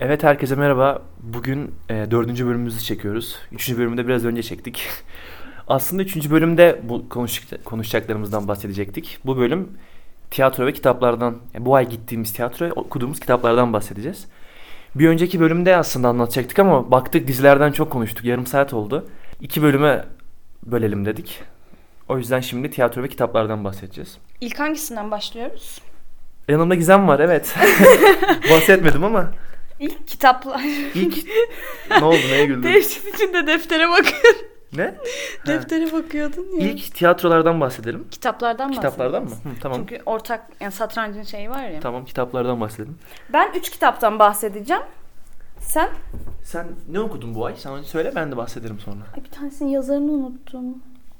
Evet herkese merhaba. Bugün e, dördüncü bölümümüzü çekiyoruz. Üçüncü bölümü de biraz önce çektik. Aslında üçüncü bölümde bu konuşacak- konuşacaklarımızdan bahsedecektik. Bu bölüm tiyatro ve kitaplardan, yani bu ay gittiğimiz tiyatro okuduğumuz kitaplardan bahsedeceğiz. Bir önceki bölümde aslında anlatacaktık ama baktık dizilerden çok konuştuk. Yarım saat oldu. İki bölüme bölelim dedik. O yüzden şimdi tiyatro ve kitaplardan bahsedeceğiz. İlk hangisinden başlıyoruz? Yanımda Gizem var evet. Bahsetmedim ama İlk kitaplar. ilk ne oldu neye güldün? Devşin içinde deftere bakıyordun. Ne? Ha. deftere bakıyordun ya. İlk tiyatrolardan bahsedelim. kitaplardan Kitaplardan mı? bahsediyoruz. Hı, tamam. Çünkü ortak yani satrancın şeyi var ya. Tamam kitaplardan bahsedelim. Ben 3 kitaptan bahsedeceğim. Sen? Sen ne okudun bu ay? Sen önce söyle ben de bahsederim sonra. Ay bir tanesinin yazarını unuttum.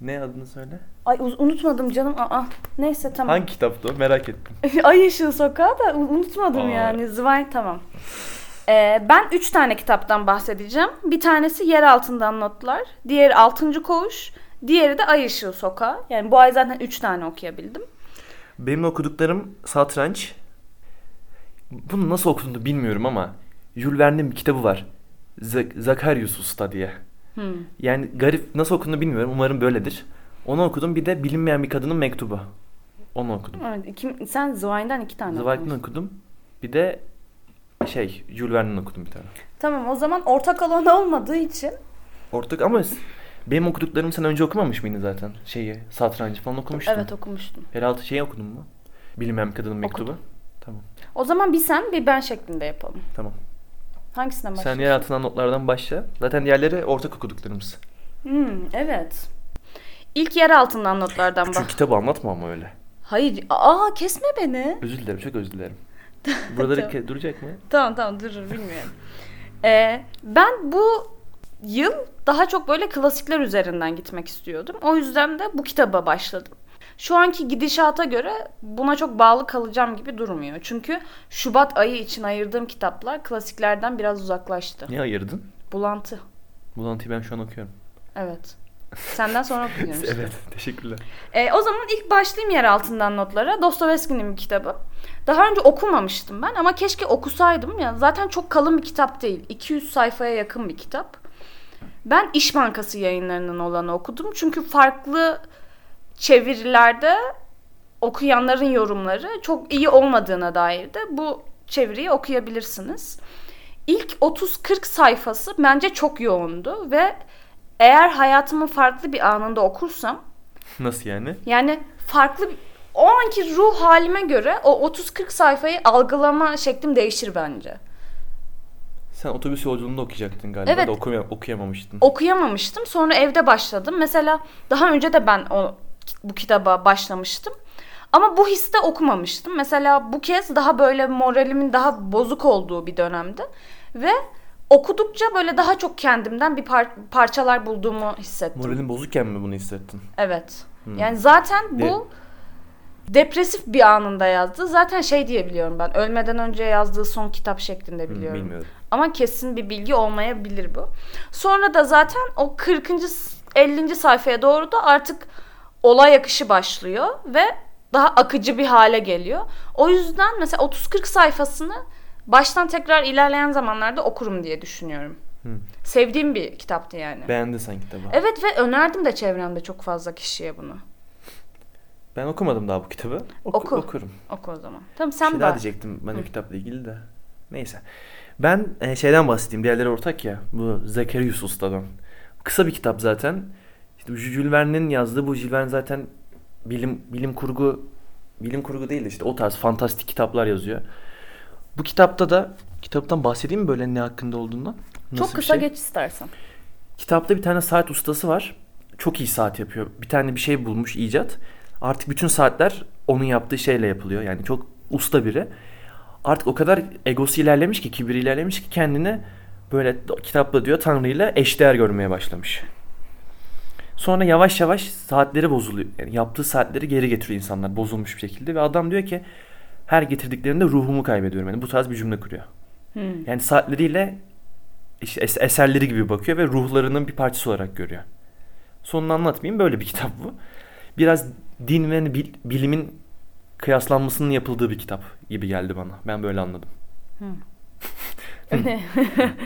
Ne adını söyle? Ay uz- unutmadım canım. Aa, neyse tamam. Hangi kitaptı o? Merak ettim. Ay Işığı Sokağı da u- unutmadım Aa. yani. Zvay tamam. Ee, ben 3 tane kitaptan bahsedeceğim. Bir tanesi Yer Altından Notlar. Diğeri Altıncı Koğuş. Diğeri de Ay Işığı Sokağı. Yani bu ay zaten 3 tane okuyabildim. Benim okuduklarım satranç. Bunu nasıl okundu bilmiyorum ama Jules Verne'in bir kitabı var. Z- Zakarius Usta diye. Hmm. Yani garip nasıl okundu bilmiyorum. Umarım böyledir. Onu okudum. Bir de bilinmeyen bir kadının mektubu. Onu okudum. Evet, iki- sen Zwei'den 2 tane Zweig'in okumuşsun. okudum. Bir de şey Jules Verne'in okudum bir tane. Tamam o zaman ortak alan olmadığı için Ortak ama s- benim okuduklarım sen önce okumamış mıydın zaten? Şeyi, satrancı falan okumuştun. evet okumuştum. Herhalde şeyi okudun mu? Bilmem kadının mektubu. Tamam, O zaman bir sen bir ben şeklinde yapalım. tamam. Hangisinden Sen başlayalım? yer altından notlardan başla. Zaten diğerleri ortak okuduklarımız. Hmm, evet. İlk yer altından notlardan Çünkü bak. kitabı anlatma ama öyle. Hayır. Aa kesme beni. Özür dilerim, çok özür dilerim. Buraları Tamam. ke- duracak mı? Tamam tamam durur bilmiyorum. Ee, ben bu yıl daha çok böyle klasikler üzerinden gitmek istiyordum. O yüzden de bu kitaba başladım. Şu anki gidişata göre buna çok bağlı kalacağım gibi durmuyor. Çünkü Şubat ayı için ayırdığım kitaplar klasiklerden biraz uzaklaştı. Niye ayırdın? Bulantı. Bulantıyı ben şu an okuyorum. Evet. Senden sonra okuyacağım işte. evet, teşekkürler. E, o zaman ilk başlayayım yer altından notlara. Dostoyevski'nin bir kitabı. Daha önce okumamıştım ben ama keşke okusaydım. ya Zaten çok kalın bir kitap değil. 200 sayfaya yakın bir kitap. Ben İş Bankası yayınlarının olanı okudum. Çünkü farklı çevirilerde okuyanların yorumları çok iyi olmadığına dair de bu çeviriyi okuyabilirsiniz. İlk 30-40 sayfası bence çok yoğundu ve eğer hayatımın farklı bir anında okursam Nasıl yani? yani farklı bir- o anki ruh halime göre o 30-40 sayfayı algılama şeklim değişir bence. Sen otobüs yolculuğunda okuyacaktın galiba Evet. da okuyam- okuyamamıştın. Okuyamamıştım. Sonra evde başladım. Mesela daha önce de ben o bu kitaba başlamıştım. Ama bu histe okumamıştım. Mesela bu kez daha böyle moralimin daha bozuk olduğu bir dönemde ve okudukça böyle daha çok kendimden bir par- parçalar bulduğumu hissettim. Moralin bozukken mi bunu hissettin? Evet. Hmm. Yani zaten De- bu depresif bir anında yazdı. Zaten şey diyebiliyorum ben. Ölmeden önce yazdığı son kitap şeklinde Hı, biliyorum. Hmm, Bilmiyorum. Ama kesin bir bilgi olmayabilir bu. Sonra da zaten o 40. 50. sayfaya doğru da artık olay akışı başlıyor ve daha akıcı bir hale geliyor. O yüzden mesela 30-40 sayfasını baştan tekrar ilerleyen zamanlarda okurum diye düşünüyorum. Hı. Sevdiğim bir kitaptı yani. Beğendin sen kitabı. Evet ve önerdim de çevremde çok fazla kişiye bunu. Ben okumadım daha bu kitabı. Oku- Oku. Okurum. Oku o zaman. Tamam Bir sen şey bak. daha diyecektim ben o kitapla ilgili de. Neyse. Ben e, şeyden bahsedeyim. Diğerleri ortak ya. Bu Zekerius Usta'dan. Kısa bir kitap zaten. İşte bu Jules Verne'in yazdığı bu Jules Verne zaten bilim bilim kurgu bilim kurgu değil de işte o tarz fantastik kitaplar yazıyor. Bu kitapta da kitaptan bahsedeyim mi böyle ne hakkında olduğundan? Nasıl Çok bir kısa şey? geç istersen. Kitapta bir tane saat ustası var. Çok iyi saat yapıyor. Bir tane bir şey bulmuş icat. Artık bütün saatler onun yaptığı şeyle yapılıyor. Yani çok usta biri. Artık o kadar egosu ilerlemiş ki, kibri ilerlemiş ki kendini böyle kitapla diyor Tanrı'yla eşdeğer görmeye başlamış. Sonra yavaş yavaş saatleri bozuluyor. Yani yaptığı saatleri geri getiriyor insanlar bozulmuş bir şekilde. Ve adam diyor ki her getirdiklerinde ruhumu kaybediyorum. Yani bu tarz bir cümle kuruyor. Hmm. Yani saatleriyle işte es- eserleri gibi bakıyor ve ruhlarının bir parçası olarak görüyor. Sonunu anlatmayayım böyle bir kitap bu. Biraz din ve bil- bilimin kıyaslanmasının yapıldığı bir kitap gibi geldi bana. Ben böyle anladım. Hmm. Öne-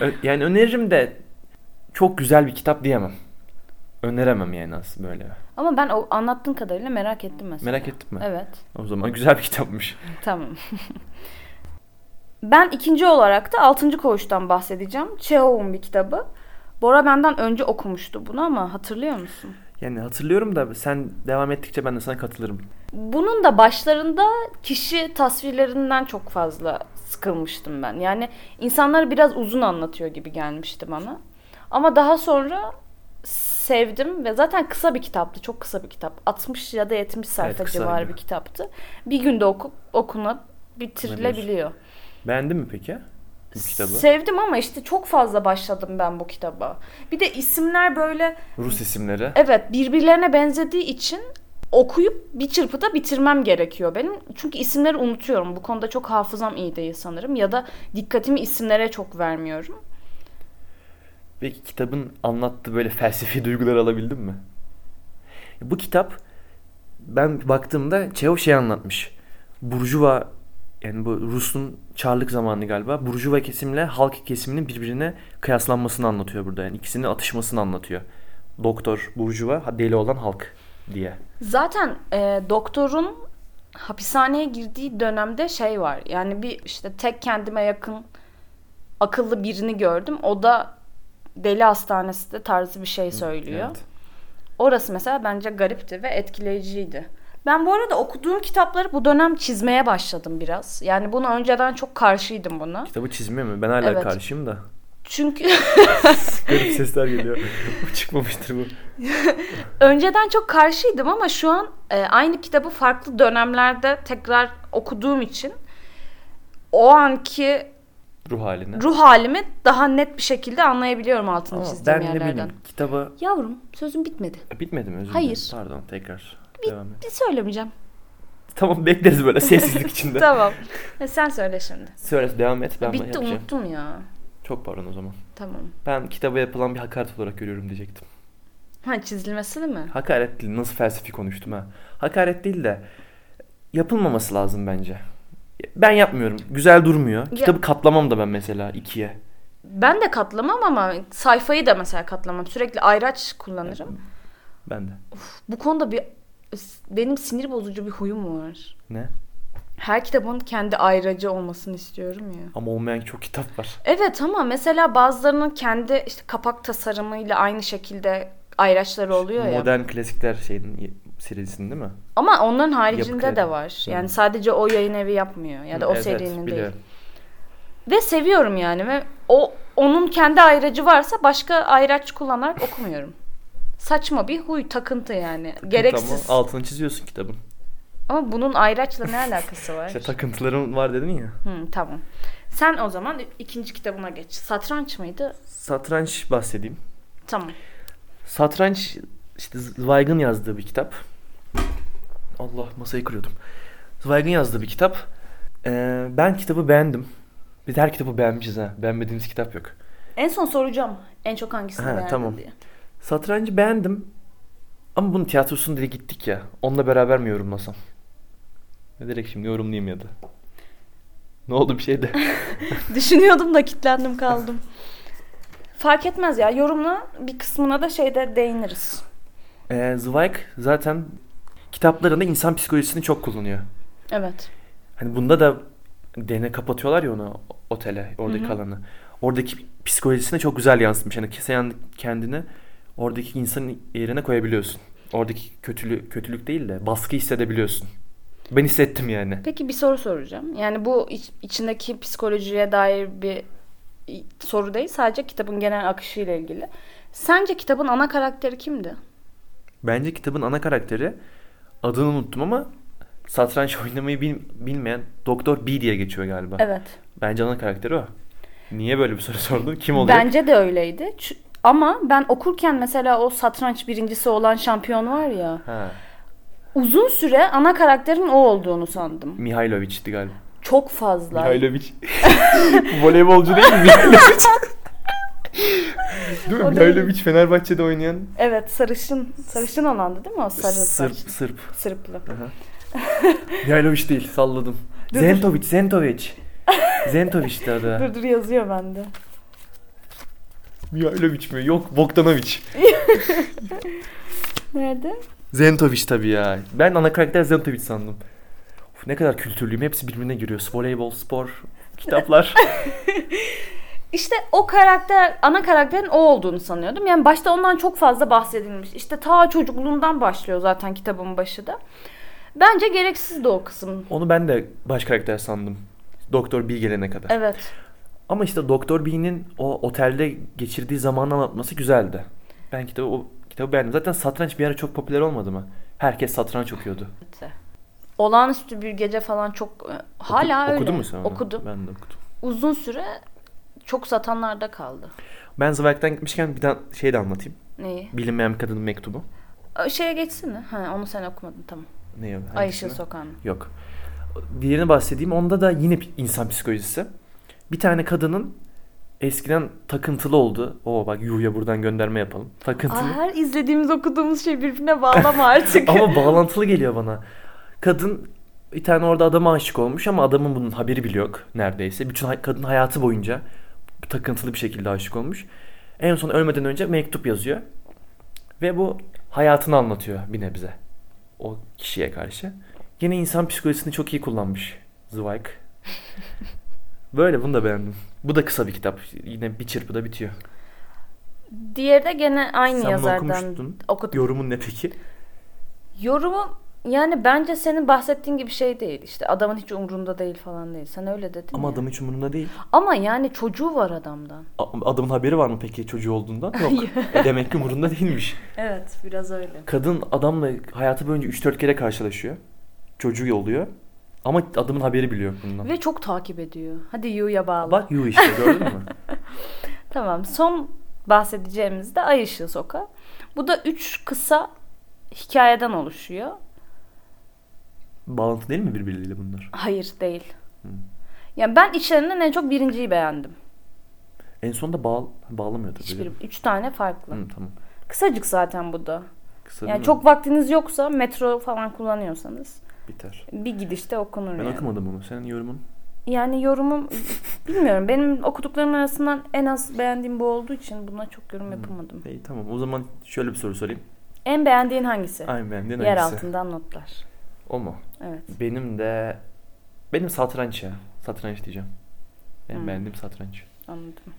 Ö- Yani öneririm de çok güzel bir kitap diyemem. Öneremem yani aslında böyle. Ama ben o anlattığın kadarıyla merak ettim mesela. Merak ettin mi? Evet. O zaman güzel bir kitapmış. Tamam. ben ikinci olarak da Altıncı Koğuş'tan bahsedeceğim. Çehov'un bir kitabı. Bora benden önce okumuştu bunu ama hatırlıyor musun? Yani hatırlıyorum da sen devam ettikçe ben de sana katılırım. Bunun da başlarında kişi tasvirlerinden çok fazla sıkılmıştım ben. Yani insanlar biraz uzun anlatıyor gibi gelmişti bana. Ama daha sonra sevdim ve zaten kısa bir kitaptı. Çok kısa bir kitap. 60 ya da 70 sayfa Evet, kısa civarı gibi. bir kitaptı. Bir günde okup okuna bitirilebiliyor. Beğendin mi peki bu kitabı? Sevdim ama işte çok fazla başladım ben bu kitaba. Bir de isimler böyle Rus isimleri. Evet birbirlerine benzediği için okuyup bir çırpıda bitirmem gerekiyor benim. Çünkü isimleri unutuyorum. Bu konuda çok hafızam iyi değil sanırım. Ya da dikkatimi isimlere çok vermiyorum. Peki kitabın anlattığı böyle felsefi duygular alabildin mi? Bu kitap ben baktığımda Çehov şey anlatmış. Burjuva yani bu Rus'un Çarlık zamanı galiba. Burjuva kesimle halk kesiminin birbirine kıyaslanmasını anlatıyor burada. Yani ikisinin atışmasını anlatıyor. Doktor, Burjuva, ha- deli olan halk diye. Zaten e, doktorun hapishaneye girdiği dönemde şey var. Yani bir işte tek kendime yakın akıllı birini gördüm. O da deli hastanesi de tarzı bir şey söylüyor. Evet. Orası mesela bence garipti ve etkileyiciydi. Ben bu arada okuduğum kitapları bu dönem çizmeye başladım biraz. Yani bunu önceden çok karşıydım buna. Kitabı çizmiyor mu? Ben hala Evet. karşıyım da. Çünkü Garip sesler geliyor. Bu Çıkmamıştır bu. önceden çok karşıydım ama şu an e, aynı kitabı farklı dönemlerde tekrar okuduğum için o anki Ruh haline. ruh halimi daha net bir şekilde anlayabiliyorum altını Ama çizdiğim ben ne yerlerden. bileyim kitabı Yavrum sözüm bitmedi. E, bitmedi mi özür Hayır. dilerim. Pardon tekrar. Devam et. Bir söylemeyeceğim. Tamam bekleriz böyle sessizlik içinde. tamam. E, sen söyle şimdi. Söyle devam et ben Bitti yapacağım. unuttum ya. Çok pardon o zaman. Tamam. Ben kitaba yapılan bir hakaret olarak görüyorum diyecektim. Ha çizilmesini mi? Hakaret değil nasıl felsefi konuştum ha. Hakaret değil de yapılmaması lazım bence. Ben yapmıyorum. Güzel durmuyor. Kitabı katlamam da ben mesela ikiye. Ben de katlamam ama sayfayı da mesela katlamam. Sürekli ayraç kullanırım. Ben de. Bu konuda bir benim sinir bozucu bir huyum var. Ne? Her kitabın kendi ayracı olmasını istiyorum ya. Ama olmayan çok kitap var. Evet ama mesela bazılarının kendi işte kapak tasarımıyla aynı şekilde ayraçları oluyor ya. Modern klasikler şeyin serisinin değil mi? Ama onların Yapı haricinde kredi. de var. Hı. Yani sadece o yayın evi yapmıyor ya da o Evet, serinin değil. biliyorum. Ve seviyorum yani ve o onun kendi ayracı varsa başka ayraç kullanarak okumuyorum. Saçma bir huy takıntı yani. Gereksiz. Tamam, altını çiziyorsun kitabın. Ama bunun ayraçla ne alakası var? İşte takıntılarım var dedin ya. Hı, tamam. Sen o zaman ikinci kitabına geç. Satranç mıydı? Satranç bahsedeyim. Tamam. Satranç işte Zweig'in yazdığı bir kitap. Allah masayı kırıyordum. Zweig'in yazdığı bir kitap. Ee, ben kitabı beğendim. Biz her kitabı beğenmişiz ha. Beğenmediğimiz kitap yok. En son soracağım. En çok hangisini Ha, beğendin tamam. diye. Satrancı beğendim. Ama bunun tiyatrosunu diye gittik ya. Onunla beraber mi yorumlasam? Ya Direkt şimdi yorumlayayım ya da. Ne oldu bir şey de. Düşünüyordum da kilitlendim kaldım. Fark etmez ya. Yorumla bir kısmına da şeyde değiniriz. Ee, Zweig zaten kitaplarında insan psikolojisini çok kullanıyor. Evet. Hani bunda da dene kapatıyorlar ya onu otele, oradaki Hı hı. alanı. Oradaki psikolojisine çok güzel yansıtmış. Hani sen kendini oradaki insanın yerine koyabiliyorsun. Oradaki kötülük, kötülük değil de baskı hissedebiliyorsun. Ben hissettim yani. Peki bir soru soracağım. Yani bu iç- içindeki psikolojiye dair bir i- soru değil. Sadece kitabın genel akışıyla ilgili. Sence kitabın ana karakteri kimdi? Bence kitabın ana karakteri adını unuttum ama satranç oynamayı bil- bilmeyen Doktor B diye geçiyor galiba. Evet. Bence ana karakteri o. Niye böyle bir soru sordun? Kim oluyor? Bence de öyleydi. Çü- Ama ben okurken mesela o satranç birincisi olan şampiyon var ya. Ha, Uzun süre ana karakterin o olduğunu sandım. Mihailovic'ti galiba. Çok fazla. Mihailovic. Voleybolcu değil mi Mihailovic? değil mi? O değil. Mihailovic Fenerbahçe'de oynayan Evet sarışın. Sarışın olandı değil mi o? Sarı Sırp. saçlı. Sırp. Sırplı. Aha. Mihailovic değil salladım. Dur, dur. Zentovic, Zentovic. Zentov işte adı. Dur dur yazıyor bende. Mihailovic mi? Yok Bogdanovic. Nerede? Zentovic tabii ya. Ben ana karakter Zentovic sandım. Of, ne kadar kültürlüyüm. Hepsi birbirine giriyor. Voleybol, spor, kitaplar. İşte o karakter, ana karakterin o olduğunu sanıyordum. Yani başta ondan çok fazla bahsedilmiş. İşte ta çocukluğundan başlıyor zaten kitabın başı da. Bence gereksizdi o kısım. Onu ben de baş karakter sandım. Doktor B gelene kadar. Evet. Ama işte Doktor B'nin o otelde geçirdiği zamanı anlatması güzeldi. Ben kitabı o kitabı beğendim. Zaten satranç bir ara çok popüler olmadı mı? Herkes satranç okuyordu. Olağanüstü bir gece falan çok e, hala Oku- öyle. Okudun mu sen onu? Okudum. Ben de okudum. Uzun süre çok satanlarda kaldı. Ben Zweig'den gitmişken bir tane şey de anlatayım. Neyi? Bilinmeyen kadının mektubu. Ö, Şeye geçsene. Ha onu sen okumadın tamam. Ne? o? Ay Hangisini? Işıl Sokan. Yok. Diğerini bahsedeyim. Onda da yine bir insan psikolojisi. Bir tane kadının eskiden takıntılı oldu. Oo bak Yuh'ya buradan gönderme yapalım. Takıntılı. Aa, her izlediğimiz okuduğumuz şey birbirine bağlama artık. Ama bağlantılı geliyor bana. Kadın bir tane orada adama aşık olmuş ama adamın bunun haberi bile yok neredeyse. Bütün hay- kadın hayatı boyunca takıntılı bir şekilde aşık olmuş. En son ölmeden önce mektup yazıyor. Ve bu hayatını anlatıyor bir nebze. O kişiye karşı. Yine insan psikolojisini çok iyi kullanmış Zweig. Böyle bunu da beğendim. Bu da kısa bir kitap. Yine bir çırpıda bitiyor. Diğeri de gene aynı Sen bunu yazardan okumuştun. okudum. Yorumun ne peki? Yorumu yani bence senin bahsettiğin gibi şey değil. İşte adamın hiç umrunda değil falan değil. Sen öyle dedin Ama ya. adam hiç umurunda değil. Ama yani çocuğu var adamdan. A- Adamın haberi var mı peki çocuğu olduğundan? Yok. E demek ki umurunda değilmiş. Evet biraz öyle. Kadın adamla hayatı boyunca 3-4 kere karşılaşıyor. Çocuğu oluyor. Ama adamın haberi biliyor bundan. Ve çok takip ediyor. Hadi Yu'ya bağlı. Bak Yu işte gördün mü? Tamam son bahsedeceğimiz de Ay Işığı Soka. Bu da üç kısa hikayeden oluşuyor. Bağlantı değil mi birbirleriyle bunlar? Hayır değil. Yani ben içlerinden en çok birinciyi beğendim. En sonunda bağ bağlamıyor tabii. Hiçbiri. Üç tane farklı. Hı, tamam. Kısacık zaten bu da. Kısa değil Yani mi? çok vaktiniz yoksa metro falan kullanıyorsanız biter. bir gidişte okunur Ben yani. okumadım onu. Senin yorumun? Yani yorumum bilmiyorum. Benim okuduklarım arasından en az beğendiğim bu olduğu için buna çok Hmm. yorum yapamadım. İyi tamam. O zaman şöyle bir soru sorayım. En beğendiğin hangisi? Aynen beğendin Yer hangisi? altından notlar. O mu? Evet. Benim de... Benim satranç ya. Satranç diyeceğim. Benim Hı. beğendiğim satranç. Anladım.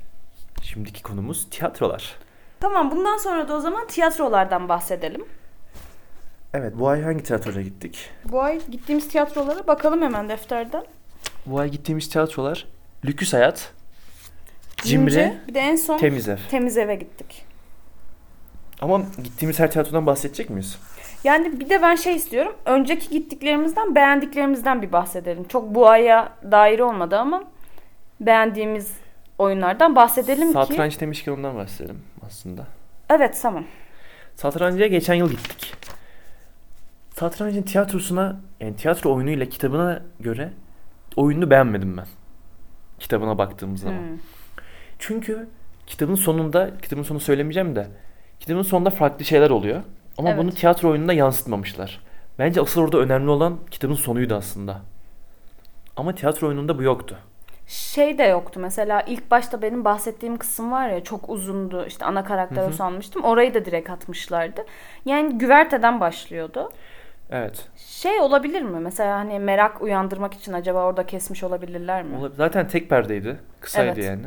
Şimdiki konumuz tiyatrolar. Tamam bundan sonra da o zaman tiyatrolardan bahsedelim. Evet bu ay hangi tiyatroya gittik? Bu ay gittiğimiz tiyatrolara bakalım hemen defterden. Bu ay gittiğimiz tiyatrolar Lüküs Hayat, Cimri, Bir de en son Temiz Ev. temiz eve gittik. Ama gittiğimiz her tiyatrodan bahsedecek miyiz? Yani bir de ben şey istiyorum. Önceki gittiklerimizden beğendiklerimizden bir bahsedelim. Çok bu aya dair olmadı ama beğendiğimiz oyunlardan bahsedelim ki. Satranç demişken ondan bahsedelim aslında. Evet tamam. Satranca geçen yıl gittik. Satrancın tiyatrosuna, yani tiyatro oyunuyla kitabına göre oyununu beğenmedim ben. Kitabına baktığım zaman. Hmm. Çünkü kitabın sonunda, kitabın sonunu söylemeyeceğim de, kitabın sonunda farklı şeyler oluyor. Ama Evet. bunu tiyatro oyununa yansıtmamışlar. Bence asıl orada önemli olan kitabın sonuydu aslında. Ama tiyatro oyununda bu yoktu. Şey de yoktu mesela ilk başta benim bahsettiğim kısım var ya çok uzundu işte ana karakter o sanmıştım orayı da direkt atmışlardı. Yani güverteden başlıyordu. Evet. Şey olabilir mi mesela hani merak uyandırmak için acaba orada kesmiş olabilirler mi? Ola- Zaten tek perdeydi. Kısaydı Evet. yani.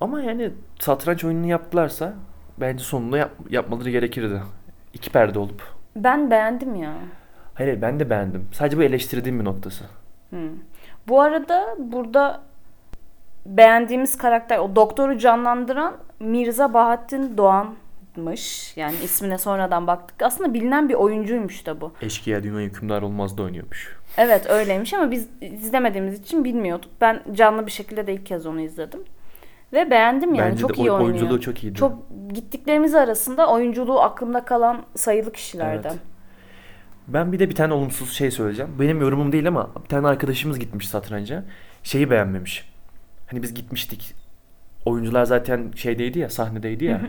Ama yani satranç oyununu yaptılarsa bence sonunda yap- yapmaları gerekirdi. İki perde olup. Ben beğendim ya. Hayır hayır, ben de beğendim. Sadece bu eleştirdiğim bir noktası. Hmm. Bu arada burada beğendiğimiz karakter o doktoru canlandıran Mirza Bahattin Doğan'mış. Yani ismine sonradan baktık. Aslında bilinen bir oyuncuymuş da bu. Eşkıya dünya hükümdar olmaz da oynuyormuş. Evet öyleymiş ama biz izlemediğimiz için bilmiyorduk. Ben canlı bir şekilde de ilk kez onu izledim. Ve beğendim yani Bence çok de oy- iyi oynuyor. oyunculuğu çok iyiydi. Çok gittiklerimiz arasında oyunculuğu aklımda kalan sayılı kişilerden. Evet. Ben bir de bir tane olumsuz şey söyleyeceğim. Benim yorumum değil ama bir tane arkadaşımız gitmiş satranca. Şeyi beğenmemiş. Hani biz gitmiştik. Oyuncular zaten şeydeydi ya, sahnedeydi ya.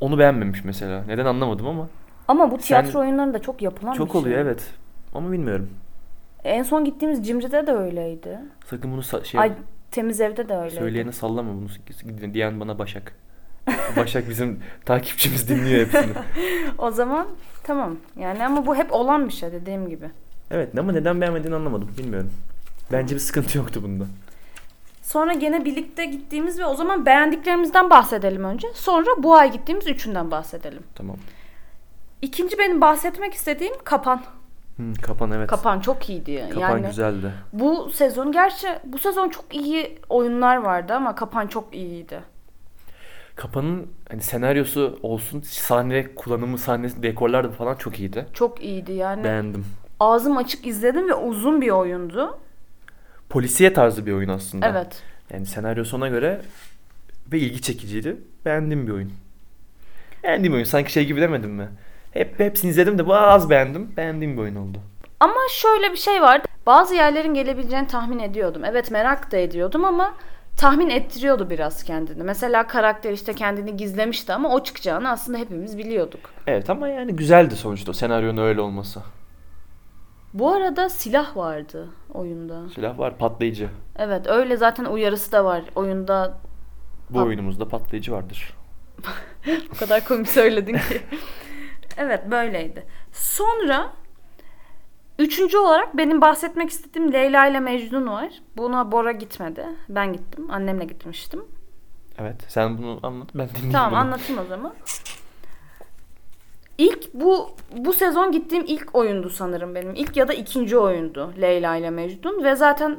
Onu beğenmemiş mesela. Neden anlamadım ama. Ama bu tiyatro Sen- oyunlarında çok yapılan bir Çok şey. oluyor evet. Ama bilmiyorum. En son gittiğimiz Cimri'de de öyleydi. Sakın bunu sa- şey Ay temiz evde de öyleydi. söyleyene sallama bunu s- diyen bana Başak. Başak bizim takipçimiz dinliyor hepsini. O zaman tamam. Yani ama bu hep olan bir şey dediğim gibi. Evet ama neden beğenmediğini anlamadım bilmiyorum. Bence bir sıkıntı yoktu bunda. Sonra gene birlikte gittiğimiz ve o zaman beğendiklerimizden bahsedelim önce. Sonra bu ay gittiğimiz üçünden bahsedelim. Tamam. İkinci benim bahsetmek istediğim kapan. Hı, kapan evet. Kapan çok iyiydi. Kapan yani güzeldi. bu sezon gerçi bu sezon çok iyi oyunlar vardı ama kapan çok iyiydi. Kapanın hani senaryosu olsun, sahne kullanımı, sahnesi, dekorlar da falan çok iyiydi. Çok iyiydi yani. Beğendim. Ağzım açık izledim ve uzun bir oyundu. Polisiye tarzı bir oyun aslında. Evet. Yani senaryosuna göre ve ilgi çekiciydi. Beğendim bir oyun. Beğendiğim oyun. Sanki şey gibi demedim mi? Hep hepsini izledim de bu az beğendim. Beğendiğim bir oyun oldu. Ama şöyle bir şey vardı. Bazı yerlerin gelebileceğini tahmin ediyordum. Evet merak da ediyordum ama tahmin ettiriyordu biraz kendini. Mesela karakter işte kendini gizlemişti ama o çıkacağını aslında hepimiz biliyorduk. Evet ama yani güzeldi sonuçta o senaryonun öyle olması. Bu arada silah vardı oyunda. Silah var patlayıcı. Evet öyle zaten uyarısı da var oyunda. Bu Pat- oyunumuzda patlayıcı vardır. Bu kadar komik söyledin ki. evet böyleydi. Sonra üçüncü olarak benim bahsetmek istediğim Leyla ile Mecnun var. Buna Bora gitmedi. Ben gittim. Annemle gitmiştim. Evet. Sen bunu anlat. Ben dinleyeyim. Tamam bunu. anlatayım o zaman. İlk bu bu sezon gittiğim ilk oyundu sanırım benim. İlk ya da ikinci oyundu Leyla ile Mecnun ve zaten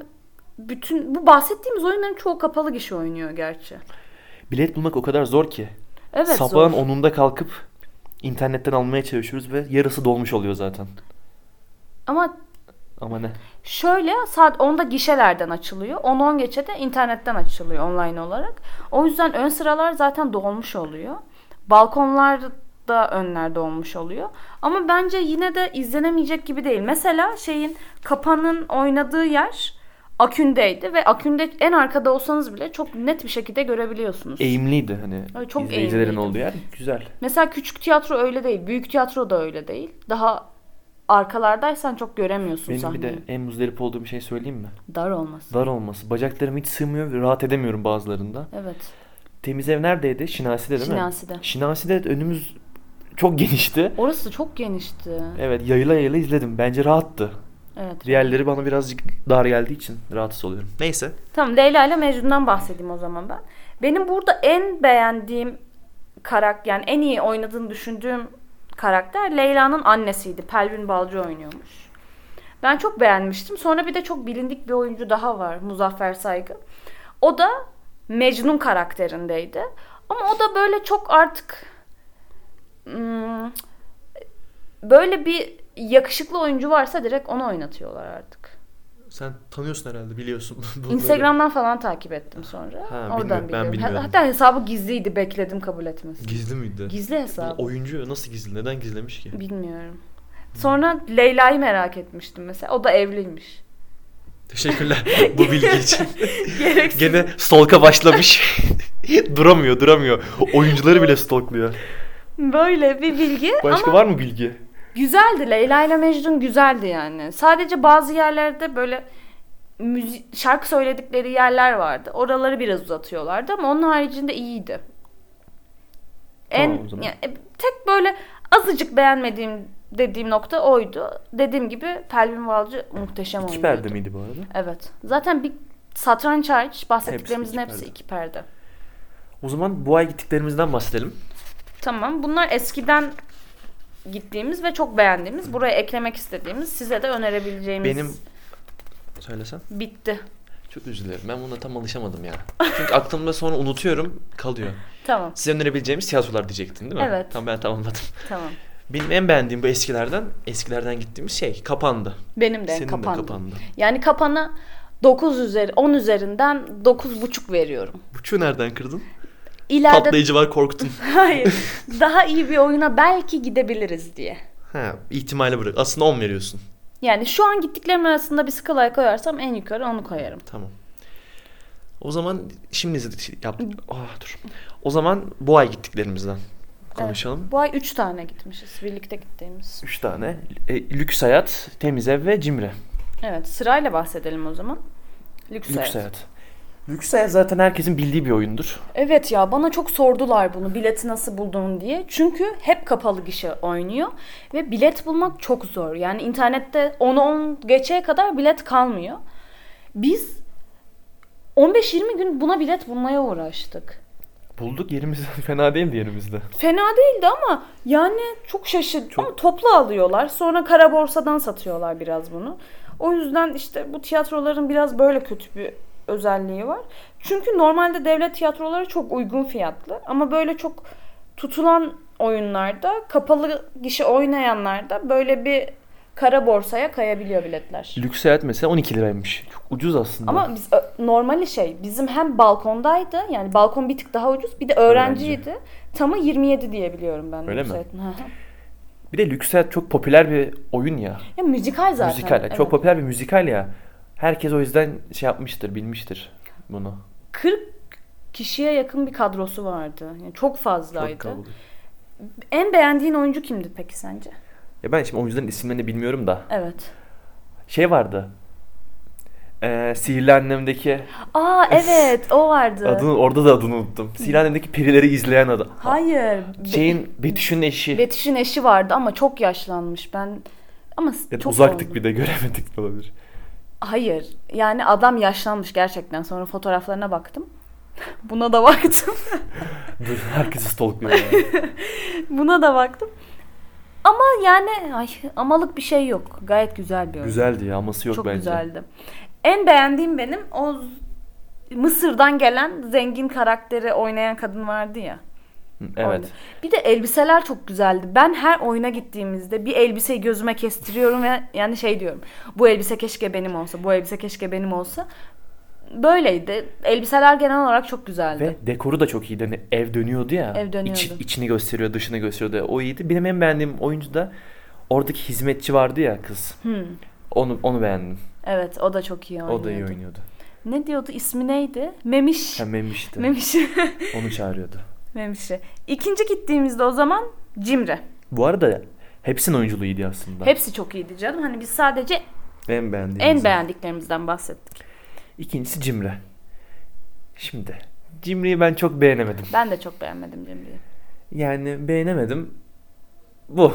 bütün bu bahsettiğimiz oyunların çoğu kapalı kişi oynuyor gerçi. Bilet bulmak o kadar zor ki. Evet. Sabahın zor. onunda kalkıp internetten almaya çalışıyoruz ve yarısı dolmuş oluyor zaten. Ama Ama ne? şöyle saat 10'da gişelerden açılıyor. 10-10 geçe de internetten açılıyor online olarak. O yüzden ön sıralar zaten dolmuş oluyor. Balkonlar da önlerde olmuş oluyor. Ama bence yine de izlenemeyecek gibi değil. Mesela şeyin kapanın oynadığı yer Akün'deydi ve Akün'de en arkada olsanız bile çok net bir şekilde görebiliyorsunuz. Eğimliydi hani. Evet, çok izleyicilerin eğimliydi. olduğu yer. Güzel. Mesela küçük tiyatro öyle değil. Büyük tiyatro da öyle değil. Daha arkalardaysan çok göremiyorsun Benim bir sahneyi. de en muzdarip olduğum şey söyleyeyim mi? Dar olması. Dar olması. Bacaklarım hiç sığmıyor ve rahat edemiyorum bazılarında. Evet. Temiz ev neredeydi? Şinasi'de değil Şinasi'de. mi? Şinasi'de. de önümüz çok genişti. Orası çok genişti. Evet yayıla yayıla izledim. Bence rahattı. Evet. Diğerleri bana birazcık dar geldiği için rahatsız oluyorum. Neyse. Tamam Leyla ile Mecnun'dan bahsedeyim o zaman ben. Benim burada en beğendiğim karakter yani en iyi oynadığını düşündüğüm karakter Leyla'nın annesiydi. Pelvin Balcı oynuyormuş. Ben çok beğenmiştim. Sonra bir de çok bilindik bir oyuncu daha var. Muzaffer Saygı. O da Mecnun karakterindeydi. Ama o da böyle çok artık hmm, böyle bir yakışıklı oyuncu varsa direkt onu oynatıyorlar artık. Sen tanıyorsun herhalde biliyorsun. Instagram'dan falan takip ettim sonra. Ha, Oradan bilmiyorum, ben biliyorum. bilmiyorum. Hatta hesabı gizliydi. Bekledim kabul etmesi. Gizli miydi? Gizli hesap. Oyuncu nasıl gizli? Neden gizlemiş ki? Bilmiyorum. Sonra Leyla'yı merak etmiştim mesela. O da evliymiş. Teşekkürler bu bilgi için. Gereksiz. Gene stalka başlamış. duramıyor duramıyor. Oyuncuları bile stalkluyor. Böyle bir bilgi Başka ama var mı bilgi? güzeldi. Leyla ile Mecnun güzeldi yani. Sadece bazı yerlerde böyle müzi- şarkı söyledikleri yerler vardı. Oraları biraz uzatıyorlardı ama onun haricinde iyiydi. En Tamam o zaman. ya, e, tek böyle azıcık beğenmediğim dediğim nokta oydu. Dediğim gibi Pelvin Balcı muhteşem İki oynuyordu. perde miydi bu arada? Evet. Zaten bir satranç hariç bahsettiklerimizin Hepsi hepsi, iki iki perde. O zaman bu ay gittiklerimizden bahsedelim. Tamam. Bunlar eskiden gittiğimiz ve çok beğendiğimiz, buraya eklemek istediğimiz, size de önerebileceğimiz Benim söylesen. bitti. Çok üzülüyorum. Ben buna tam alışamadım ya. Çünkü aklımda sonra unutuyorum, kalıyor. Tamam. Size önerebileceğimiz tiyatrolar diyecektin değil mi? Evet. Tam ben tamamladım. Tamam. Benim en beğendiğim bu eskilerden, eskilerden gittiğimiz şey kapandı. Benim de Senin kapandı. de kapandı. Yani kapana 9 üzeri 10 üzerinden 9,5 veriyorum. Buçuğu nereden kırdın? İleride Patlayıcı var korktun. hayır. daha iyi bir oyuna belki gidebiliriz diye. ha, ihtimale bırak. Aslında 10 veriyorsun. Yani şu an gittiklerim arasında bir skalaya koyarsam en yukarı onu koyarım. Tamam. O zaman şimdi izledik. Yap. Ah, dur. O zaman bu ay gittiklerimizden konuşalım. Bu ay 3 tane gitmişiz birlikte gittiğimiz. Üç tane. E, lüks hayat, temiz ev ve cimri. Evet sırayla bahsedelim o zaman. Lüks, Lüks hayat. hayat. Lüks hayat zaten herkesin bildiği bir oyundur. Evet ya bana çok sordular bunu bileti nasıl buldun diye. Çünkü hep kapalı gişe oynuyor ve bilet bulmak çok zor. Yani internette 10-10 geçeye kadar bilet kalmıyor. Biz 15-20 gün buna bilet bulmaya uğraştık. Bulduk yerimiz fena değildi yerimizde. Fena değildi ama yani çok şaşırdım. Çok. Ama toplu alıyorlar. Sonra kara borsadan satıyorlar biraz bunu. O yüzden işte bu tiyatroların biraz böyle kötü bir özelliği var. Çünkü normalde devlet tiyatroları çok uygun fiyatlı ama böyle çok tutulan oyunlarda kapalı gişe oynayanlarda böyle bir kara borsaya kayabiliyor biletler. Lüks hayat mesela 12 liraymış. Çok ucuz aslında. Ama biz ö- normali şey bizim hem balkondaydı yani balkon bir tık daha ucuz bir de öğrenciydi. Tamı 27 diye biliyorum ben. Öyle mi? yükseltin. Hı hı. bir de lüks hayat çok popüler bir oyun ya. ya müzikal zaten. müzikal. evet. Çok popüler bir müzikal ya. Herkes o yüzden şey yapmıştır, bilmiştir bunu. 40 kişiye yakın bir kadrosu vardı. Yani çok fazlaydı. Çok kalabalık. en beğendiğin oyuncu kimdi peki sence? Ya ben şimdi oyuncuların isimlerini bilmiyorum da. Evet. Şey vardı. Ee, Sihirli Annem'deki Aa evet o vardı. adını orada da adını unuttum. Sihirli Annem'deki perileri izleyen adam. Hayır. Be- Şeyin Betüş'ün eşi. Betüş'ün eşi vardı ama çok yaşlanmış. Ben ama s- Evet, çok uzaktık oldu. bir de göremedik de olabilir. Hayır. Yani adam yaşlanmış gerçekten. Sonra fotoğraflarına baktım. Buna da baktım. Dur herkesi stalkluyor ya. Buna da baktım. Ama yani ay, amalık bir şey yok. Gayet güzel bir oyun. Güzeldi ya aması yok Çok bence. güzeldi. En beğendiğim benim o z- Mısır'dan gelen zengin karakteri oynayan kadın vardı ya. Hı, Evet. Oydu. Bir de elbiseler çok güzeldi. Ben her oyuna gittiğimizde bir elbiseyi gözüme kestiriyorum ve yani şey diyorum. Bu elbise keşke benim olsa. Bu elbise keşke benim olsa. Böyleydi. Elbiseler genel olarak çok güzeldi. Ve dekoru da çok iyiydi. Hani ev dönüyordu ya. Ev dönüyordu. içi- içini gösteriyor, dışını gösteriyordu. O iyiydi. Benim en beğendiğim oyuncu da oradaki hizmetçi vardı ya kız. Hmm. Onu onu beğendim. Evet, o da çok iyi oynuyordu. O da iyi oynuyordu. Ne diyordu? İsmi neydi? Memiş. Ha Memiş'ti. Memişi. Onu çağırıyordu. Memişi. İkinci gittiğimizde o zaman Cimri. Bu arada hepsinin oyunculuğu iyiydi aslında. Hepsi çok iyiydi canım. Hani biz sadece En beğendiğim. en beğendiklerimizden bahsettik. İkincisi Cimri. Şimdi Cimri'yi ben çok beğenemedim. Ben de çok beğenmedim Cimri'yi. Yani beğenemedim. Bu.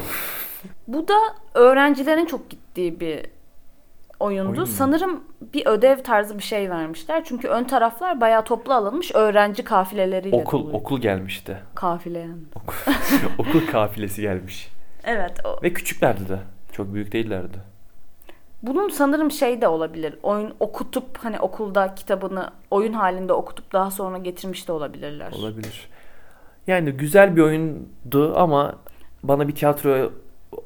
Bu da öğrencilerin çok gittiği bir oyundu. Oyun mu? Sanırım bir ödev tarzı bir şey vermişler. Çünkü ön taraflar bayağı toplu alınmış öğrenci kafileleriyle Okul doluydu. okul gelmişti. Kafile yani. okul kafilesi gelmiş. Evet. o- Ve küçüklerdi de. Çok büyük değillerdi. Bunun sanırım şey de olabilir. Oyun okutup hani okulda kitabını oyun halinde okutup daha sonra getirmiş de olabilirler. Olabilir. Yani güzel bir oyundu ama bana bir tiyatro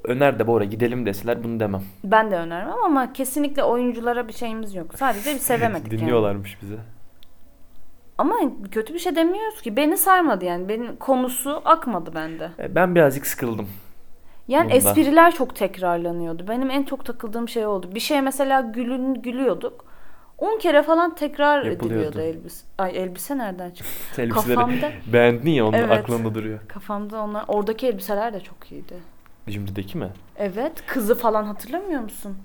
öner de Bora gidelim deseler bunu demem. Ben de önermem ama kesinlikle oyunculara bir şeyimiz yok. Sadece bir sevemedik yani. Dinliyorlarmış bizi. Ama kötü bir şey demiyoruz ki. Beni sarmadı yani. Benim konusu akmadı bende. E, Ben birazcık sıkıldım. Yani Bunda. espriler çok tekrarlanıyordu. Benim en çok takıldığım şey oldu. Bir şeye mesela gülün gülüyorduk. 10 kere falan tekrar Yapılıyordu. ediliyordu elbise. Ay elbise nereden çıktı? Sen elbiseleri Kafamda. beğendin ya onun Evet. aklında duruyor. Kafamda onlar oradaki elbiseler de çok iyiydi. Cimri'deki mi? Evet, kızı falan hatırlamıyor musun?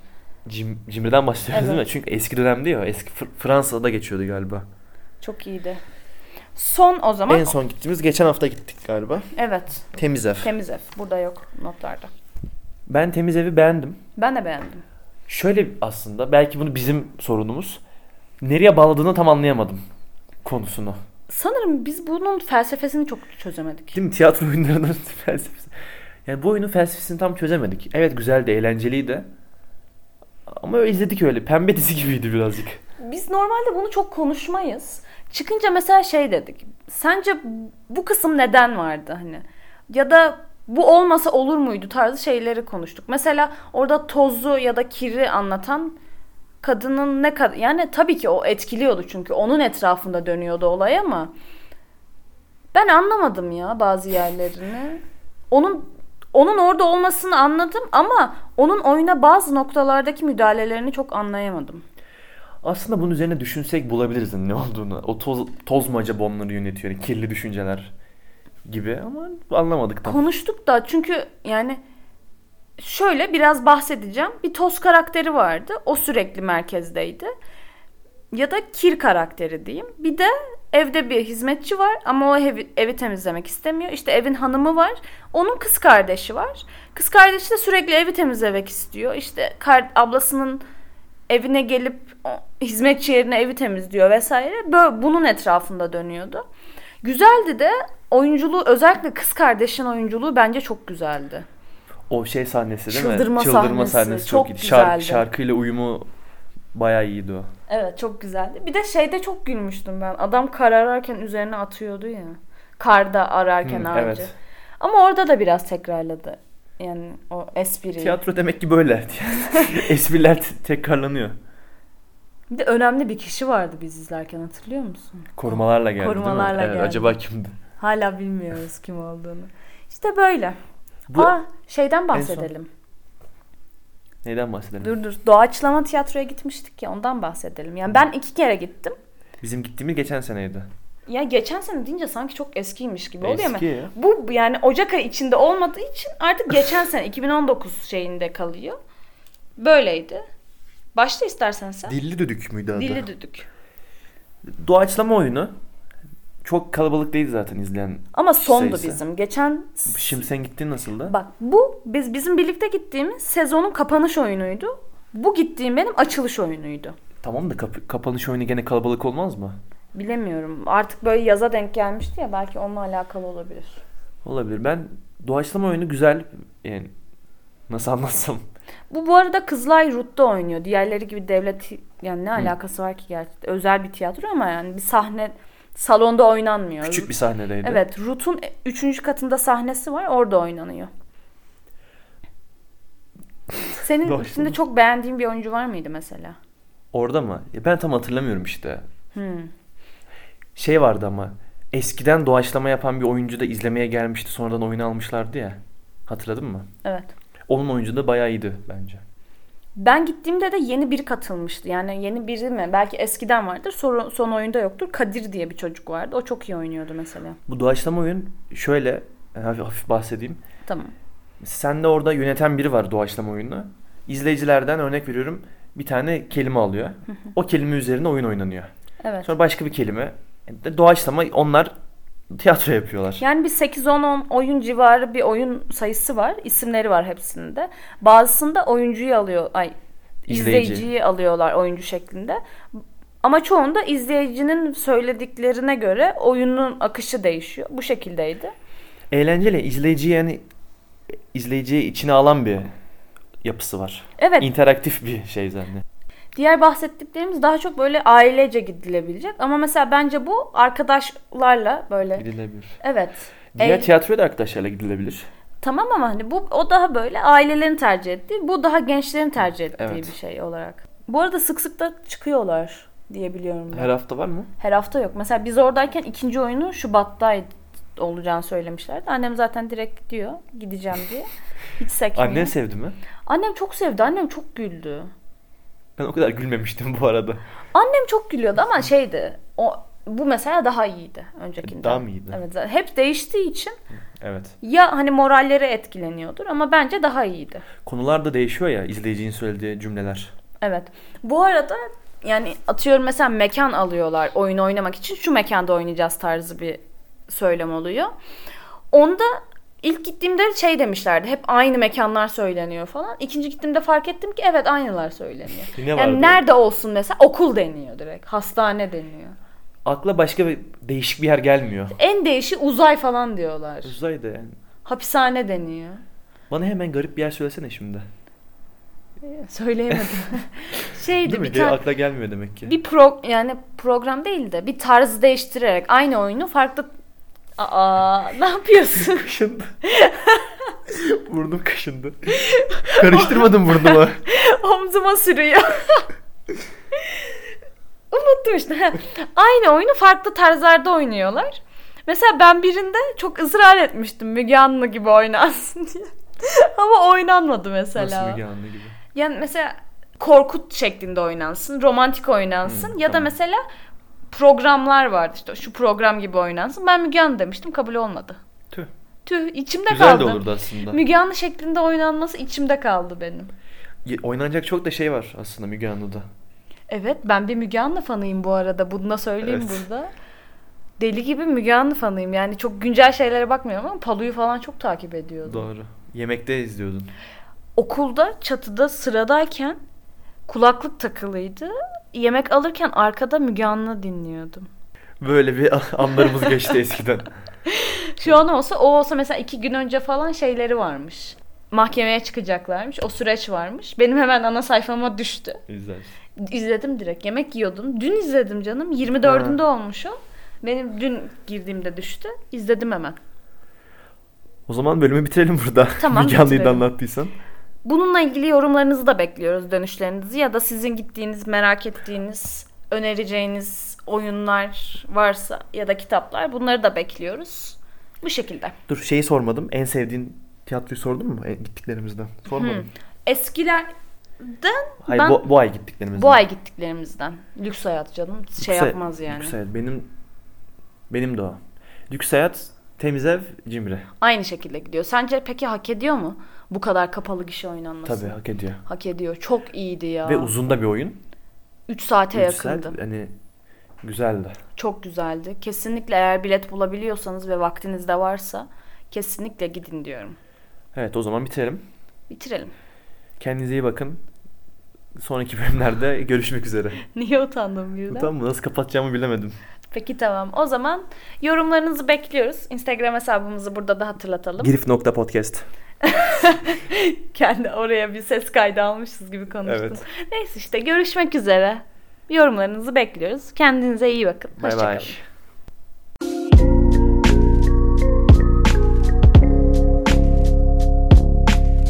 Cim, Cimri'den bahsediyoruz değil mi? Evet. Çünkü eski dönemde ya. Eski Fr- Fransa'da geçiyordu galiba. Çok iyiydi. Son o zaman. En son gittiğimiz geçen hafta gittik galiba. Evet, Temiz ev. temiz ev. Burada yok notlarda. ben temiz evi beğendim. Ben de beğendim. Şöyle aslında belki bunu bizim sorunumuz. Nereye bağladığını tam anlayamadım konusunu. Sanırım biz bunun felsefesini çok çözemedik. Değil mi? Tiyatro oyunlarının felsefesi. Yani bu oyunun felsefesini tam çözemedik. Evet güzeldi, eğlenceliydi. Ama öyle izledik öyle. Pembe dizi gibiydi birazcık. Biz normalde bunu çok konuşmayız. Çıkınca mesela şey dedik. Sence bu kısım neden vardı hani? Ya da bu olmasa olur muydu tarzı şeyleri konuştuk. Mesela orada tozu ya da kiri anlatan kadının ne kadar yani tabii ki o etkiliyordu çünkü onun etrafında dönüyordu olay ama ben anlamadım ya bazı yerlerini. Onun onun orada olmasını anladım ama onun oyuna bazı noktalardaki müdahalelerini çok anlayamadım. Aslında bunun üzerine düşünsek bulabiliriz hani ne olduğunu. O toz, toz mu acaba onları yönetiyor? Yani kirli düşünceler gibi ama anlamadık tam. Konuştuk da çünkü yani şöyle biraz bahsedeceğim. Bir toz karakteri vardı. O sürekli merkezdeydi. Ya da kir karakteri diyeyim. Bir de evde bir hizmetçi var ama o evi, evi temizlemek istemiyor. İşte evin hanımı var. Onun kız kardeşi var. Kız kardeşi de sürekli evi temizlemek istiyor. İşte kar- ablasının evine gelip o- hizmetçi yerine evi temizliyor vesaire. Böyle bunun etrafında dönüyordu. Güzeldi de oyunculuğu özellikle kız kardeşin oyunculuğu bence çok güzeldi. O şey sahnesi değil Çıldırma mi? Çıldırma sahnesi. sahnesi Çok çok, iyi. Şark- güzeldi. şarkıyla uyumu bayağı iyiydi o. Evet çok güzeldi. Bir de şeyde çok gülmüştüm ben. Adam kar ararken üzerine atıyordu ya. Karda ararken Hı, ağacı. Hmm, evet. Ama orada da biraz tekrarladı. Yani o espriyi. Tiyatro demek ki böyle. Espriler t- tekrarlanıyor. Bir de önemli bir kişi vardı biz izlerken hatırlıyor musun? Korumalarla geldi Korumalarla değil mi? Evet, geldi. acaba kimdi? Hala bilmiyoruz kim olduğunu. İşte böyle. Bu Aa şeyden son. bahsedelim. neyden bahsedelim? Dur dur. Doğaçlama tiyatroya gitmiştik ya ondan bahsedelim. Yani ben iki kere gittim. Bizim gittiğimiz geçen seneydi. Ya geçen sene deyince sanki çok eskiymiş gibi oluyor mu? Eski ya. Bu yani Ocak ayı içinde olmadığı için artık geçen sene 2019 şeyinde kalıyor. Böyleydi. Başla istersen sen. Dilli Düdük müydü adı? Dilli düdük. Doğaçlama oyunu. Çok kalabalık değil zaten izleyen. Ama sondu Sayısı. şey bizim. Geçen Şimdi sen gittiğin nasıldı? bak bu biz bizim birlikte gittiğimiz sezonun kapanış oyunuydu. Bu gittiğim benim açılış oyunuydu. Tamam da kap- kapanış oyunu gene kalabalık olmaz mı? Bilemiyorum. Artık böyle yaza denk gelmişti ya belki onunla alakalı olabilir. Olabilir. Ben doğaçlama oyunu güzel yani nasıl anlatsam. Bu bu arada Kızılay Rut'ta oynuyor. Diğerleri gibi devlet yani ne alakası var ki gerçekten. Özel bir tiyatro ama yani bir sahne salonda oynanmıyor. Küçük bir sahnedeydi. Evet, Rut'un 3. katında sahnesi var. Orada oynanıyor. Senin Doğru. içinde çok beğendiğin bir oyuncu var mıydı mesela? Orada mı? Ya ben tam hatırlamıyorum işte. Hmm. Şey vardı ama eskiden doğaçlama yapan bir oyuncu da izlemeye gelmişti. Sonradan oyunu almışlardı ya. Hatırladın mı? Evet. Onun oyuncu da bayağı iyiydi bence. Ben gittiğimde de yeni biri katılmıştı. Yani yeni biri mi? Belki eskiden vardır. Soru- son oyunda yoktur. Kadir diye bir çocuk vardı. O çok iyi oynuyordu mesela. Bu doğaçlama oyun şöyle yani hafif, hafif bahsedeyim. Tamam. Sen de orada yöneten biri var doğaçlama oyununu. İzleyicilerden örnek veriyorum bir tane kelime alıyor. O kelime üzerine oyun oynanıyor. Evet. Sonra başka bir kelime. E, Doğaçlama onlar tiyatro yapıyorlar. Yani bir 8-10 oyun civarı bir oyun sayısı var. İsimleri var hepsinde. Bazısında oyuncuyu alıyor. Ay İzleyici. izleyiciyi alıyorlar oyuncu şeklinde. Ama çoğunda izleyicinin söylediklerine göre oyunun akışı değişiyor. Bu şekildeydi. Eğlenceli. izleyici yani izleyiciyi içine alan bir yapısı var. Evet. İnteraktif bir şey zaten. Diğer bahsettiklerimiz daha çok böyle ailece gidilebilecek. Ama mesela bence bu arkadaşlarla böyle. Gidilebilir. Evet. Diğer Eğ- tiyatroya da arkadaşlarla gidilebilir. Tamam ama hani bu o daha böyle ailelerin tercih ettiği, bu daha gençlerin tercih ettiği Evet. bir şey olarak. Bu arada sık sık da çıkıyorlar diye biliyorum ben. Her hafta var mı? Her hafta yok. Mesela biz oradayken ikinci oyunu Şubat'taydı olacağını söylemişlerdi. Annem zaten direkt diyor gideceğim diye. Hiç sekmiyor. Annen sevdi mi? Annem çok sevdi. Annem çok güldü. Ben o kadar gülmemiştim bu arada. Annem çok gülüyordu ama şeydi. O bu mesela daha iyiydi öncekinden. Daha mı iyiydi? Evet. zaten Hep değiştiği için Evet. ya hani moralleri etkileniyordur ama bence daha iyiydi. Konular da değişiyor ya izleyicinin söylediği cümleler. Evet. Bu arada yani atıyorum mesela mekan alıyorlar oyun oynamak için. Şu mekanda oynayacağız tarzı bir söylem oluyor. Onda ilk gittiğimde şey demişlerdi. Hep aynı mekanlar söyleniyor falan. İkinci gittiğimde fark ettim ki evet aynılar söyleniyor. Ne yani vardı? nerede olsun mesela okul deniyor direkt. Hastane deniyor. Akla başka bir değişik bir yer gelmiyor. En değişi uzay falan diyorlar. Uzayda yani. Hapishane deniyor. Bana hemen garip bir yer söylesene şimdi. Ee, Söyleyemedim. Şeydi Değil mi? bir tane- Akla gelmiyor demek ki. bir pro yani program değil de bir tarz değiştirerek aynı oyunu farklı Aa ne yapıyorsun? Kaşındı. Burnum kaşındı. Karıştırmadım burnumu. Omzuma sürüyor. Unuttum işte. Ha, aynı oyunu farklı tarzlarda oynuyorlar. Mesela ben birinde çok ısrar etmiştim Müge Anlı gibi oynansın diye. Ama oynanmadı mesela. Nasıl Müge Anlı gibi. Yani mesela korkut şeklinde oynansın, romantik oynansın Hı, ya da tamam. mesela programlar vardı işte şu program gibi oynansın. Ben Müge Anlı demiştim kabul olmadı. Tüh. Tüh içimde Güzel de kaldı. olurdu aslında. Müge Anlı şeklinde oynanması içimde kaldı benim. Ye- Oynanacak çok da şey var aslında Müge Anlı'da. Evet ben bir Müge Anlı fanıyım bu arada. Bunu da söyleyeyim Evet. burada. Deli gibi Müge Anlı fanıyım. Yani çok güncel şeylere bakmıyorum ama Palu'yu falan çok takip ediyordum. Doğru. Yemekte izliyordun. Okulda çatıda sıradayken kulaklık takılıydı. Yemek alırken arkada Müge Anlı dinliyordum. Böyle bir anlarımız geçti eskiden. Şu an olsa o olsa mesela iki gün önce falan şeyleri varmış. Mahkemeye çıkacaklarmış. O süreç varmış. Benim hemen ana sayfama düştü. İzlersin. İzledim direkt. Yemek yiyordum. Dün izledim canım. 24'ünde olmuş o. Benim dün girdiğimde düştü. İzledim hemen. O zaman bölümü bitirelim burada. Tamam, Müge Anlı'yı da bitirelim. anlattıysan. Bununla ilgili yorumlarınızı da bekliyoruz. Dönüşlerinizi ya da sizin gittiğiniz, merak ettiğiniz, önereceğiniz oyunlar varsa ya da kitaplar bunları da bekliyoruz. Bu şekilde. Dur şeyi sormadım. En sevdiğin tiyatroyu sordun mu E, gittiklerimizden? Sormadım. Eskilerden Hayır ben bu, bu ay gittiklerimizden. bu ay gittiklerimizden. Lüks hayat canım. Şey Lükse- yapmaz yani. Lüks hayat. Benim, benim de o. Lüks hayat, temiz ev, cimri. Aynı şekilde gidiyor. Sence peki hak ediyor mu? Bu kadar kapalı gişe oynanması. Tabii hak ediyor. Hak ediyor. Çok iyiydi ya. Ve uzun da bir oyun. 3 saate Üç yakındı. saat, hani güzeldi. Çok güzeldi. Kesinlikle eğer bilet bulabiliyorsanız ve vaktiniz de varsa kesinlikle gidin diyorum. Evet o zaman bitirelim. Bitirelim. Kendinize iyi bakın. Sonraki bölümlerde görüşmek üzere. Niye utandım birden? Tamam mı? Nasıl kapatacağımı bilemedim. Peki tamam. O zaman yorumlarınızı bekliyoruz. Instagram hesabımızı burada da hatırlatalım. Girif.podcast. Kendi oraya bir ses kaydı almışız gibi konuştum. Evet. Neyse işte görüşmek üzere. Yorumlarınızı bekliyoruz. Kendinize iyi bakın. Bay Hoşçakalın. bay.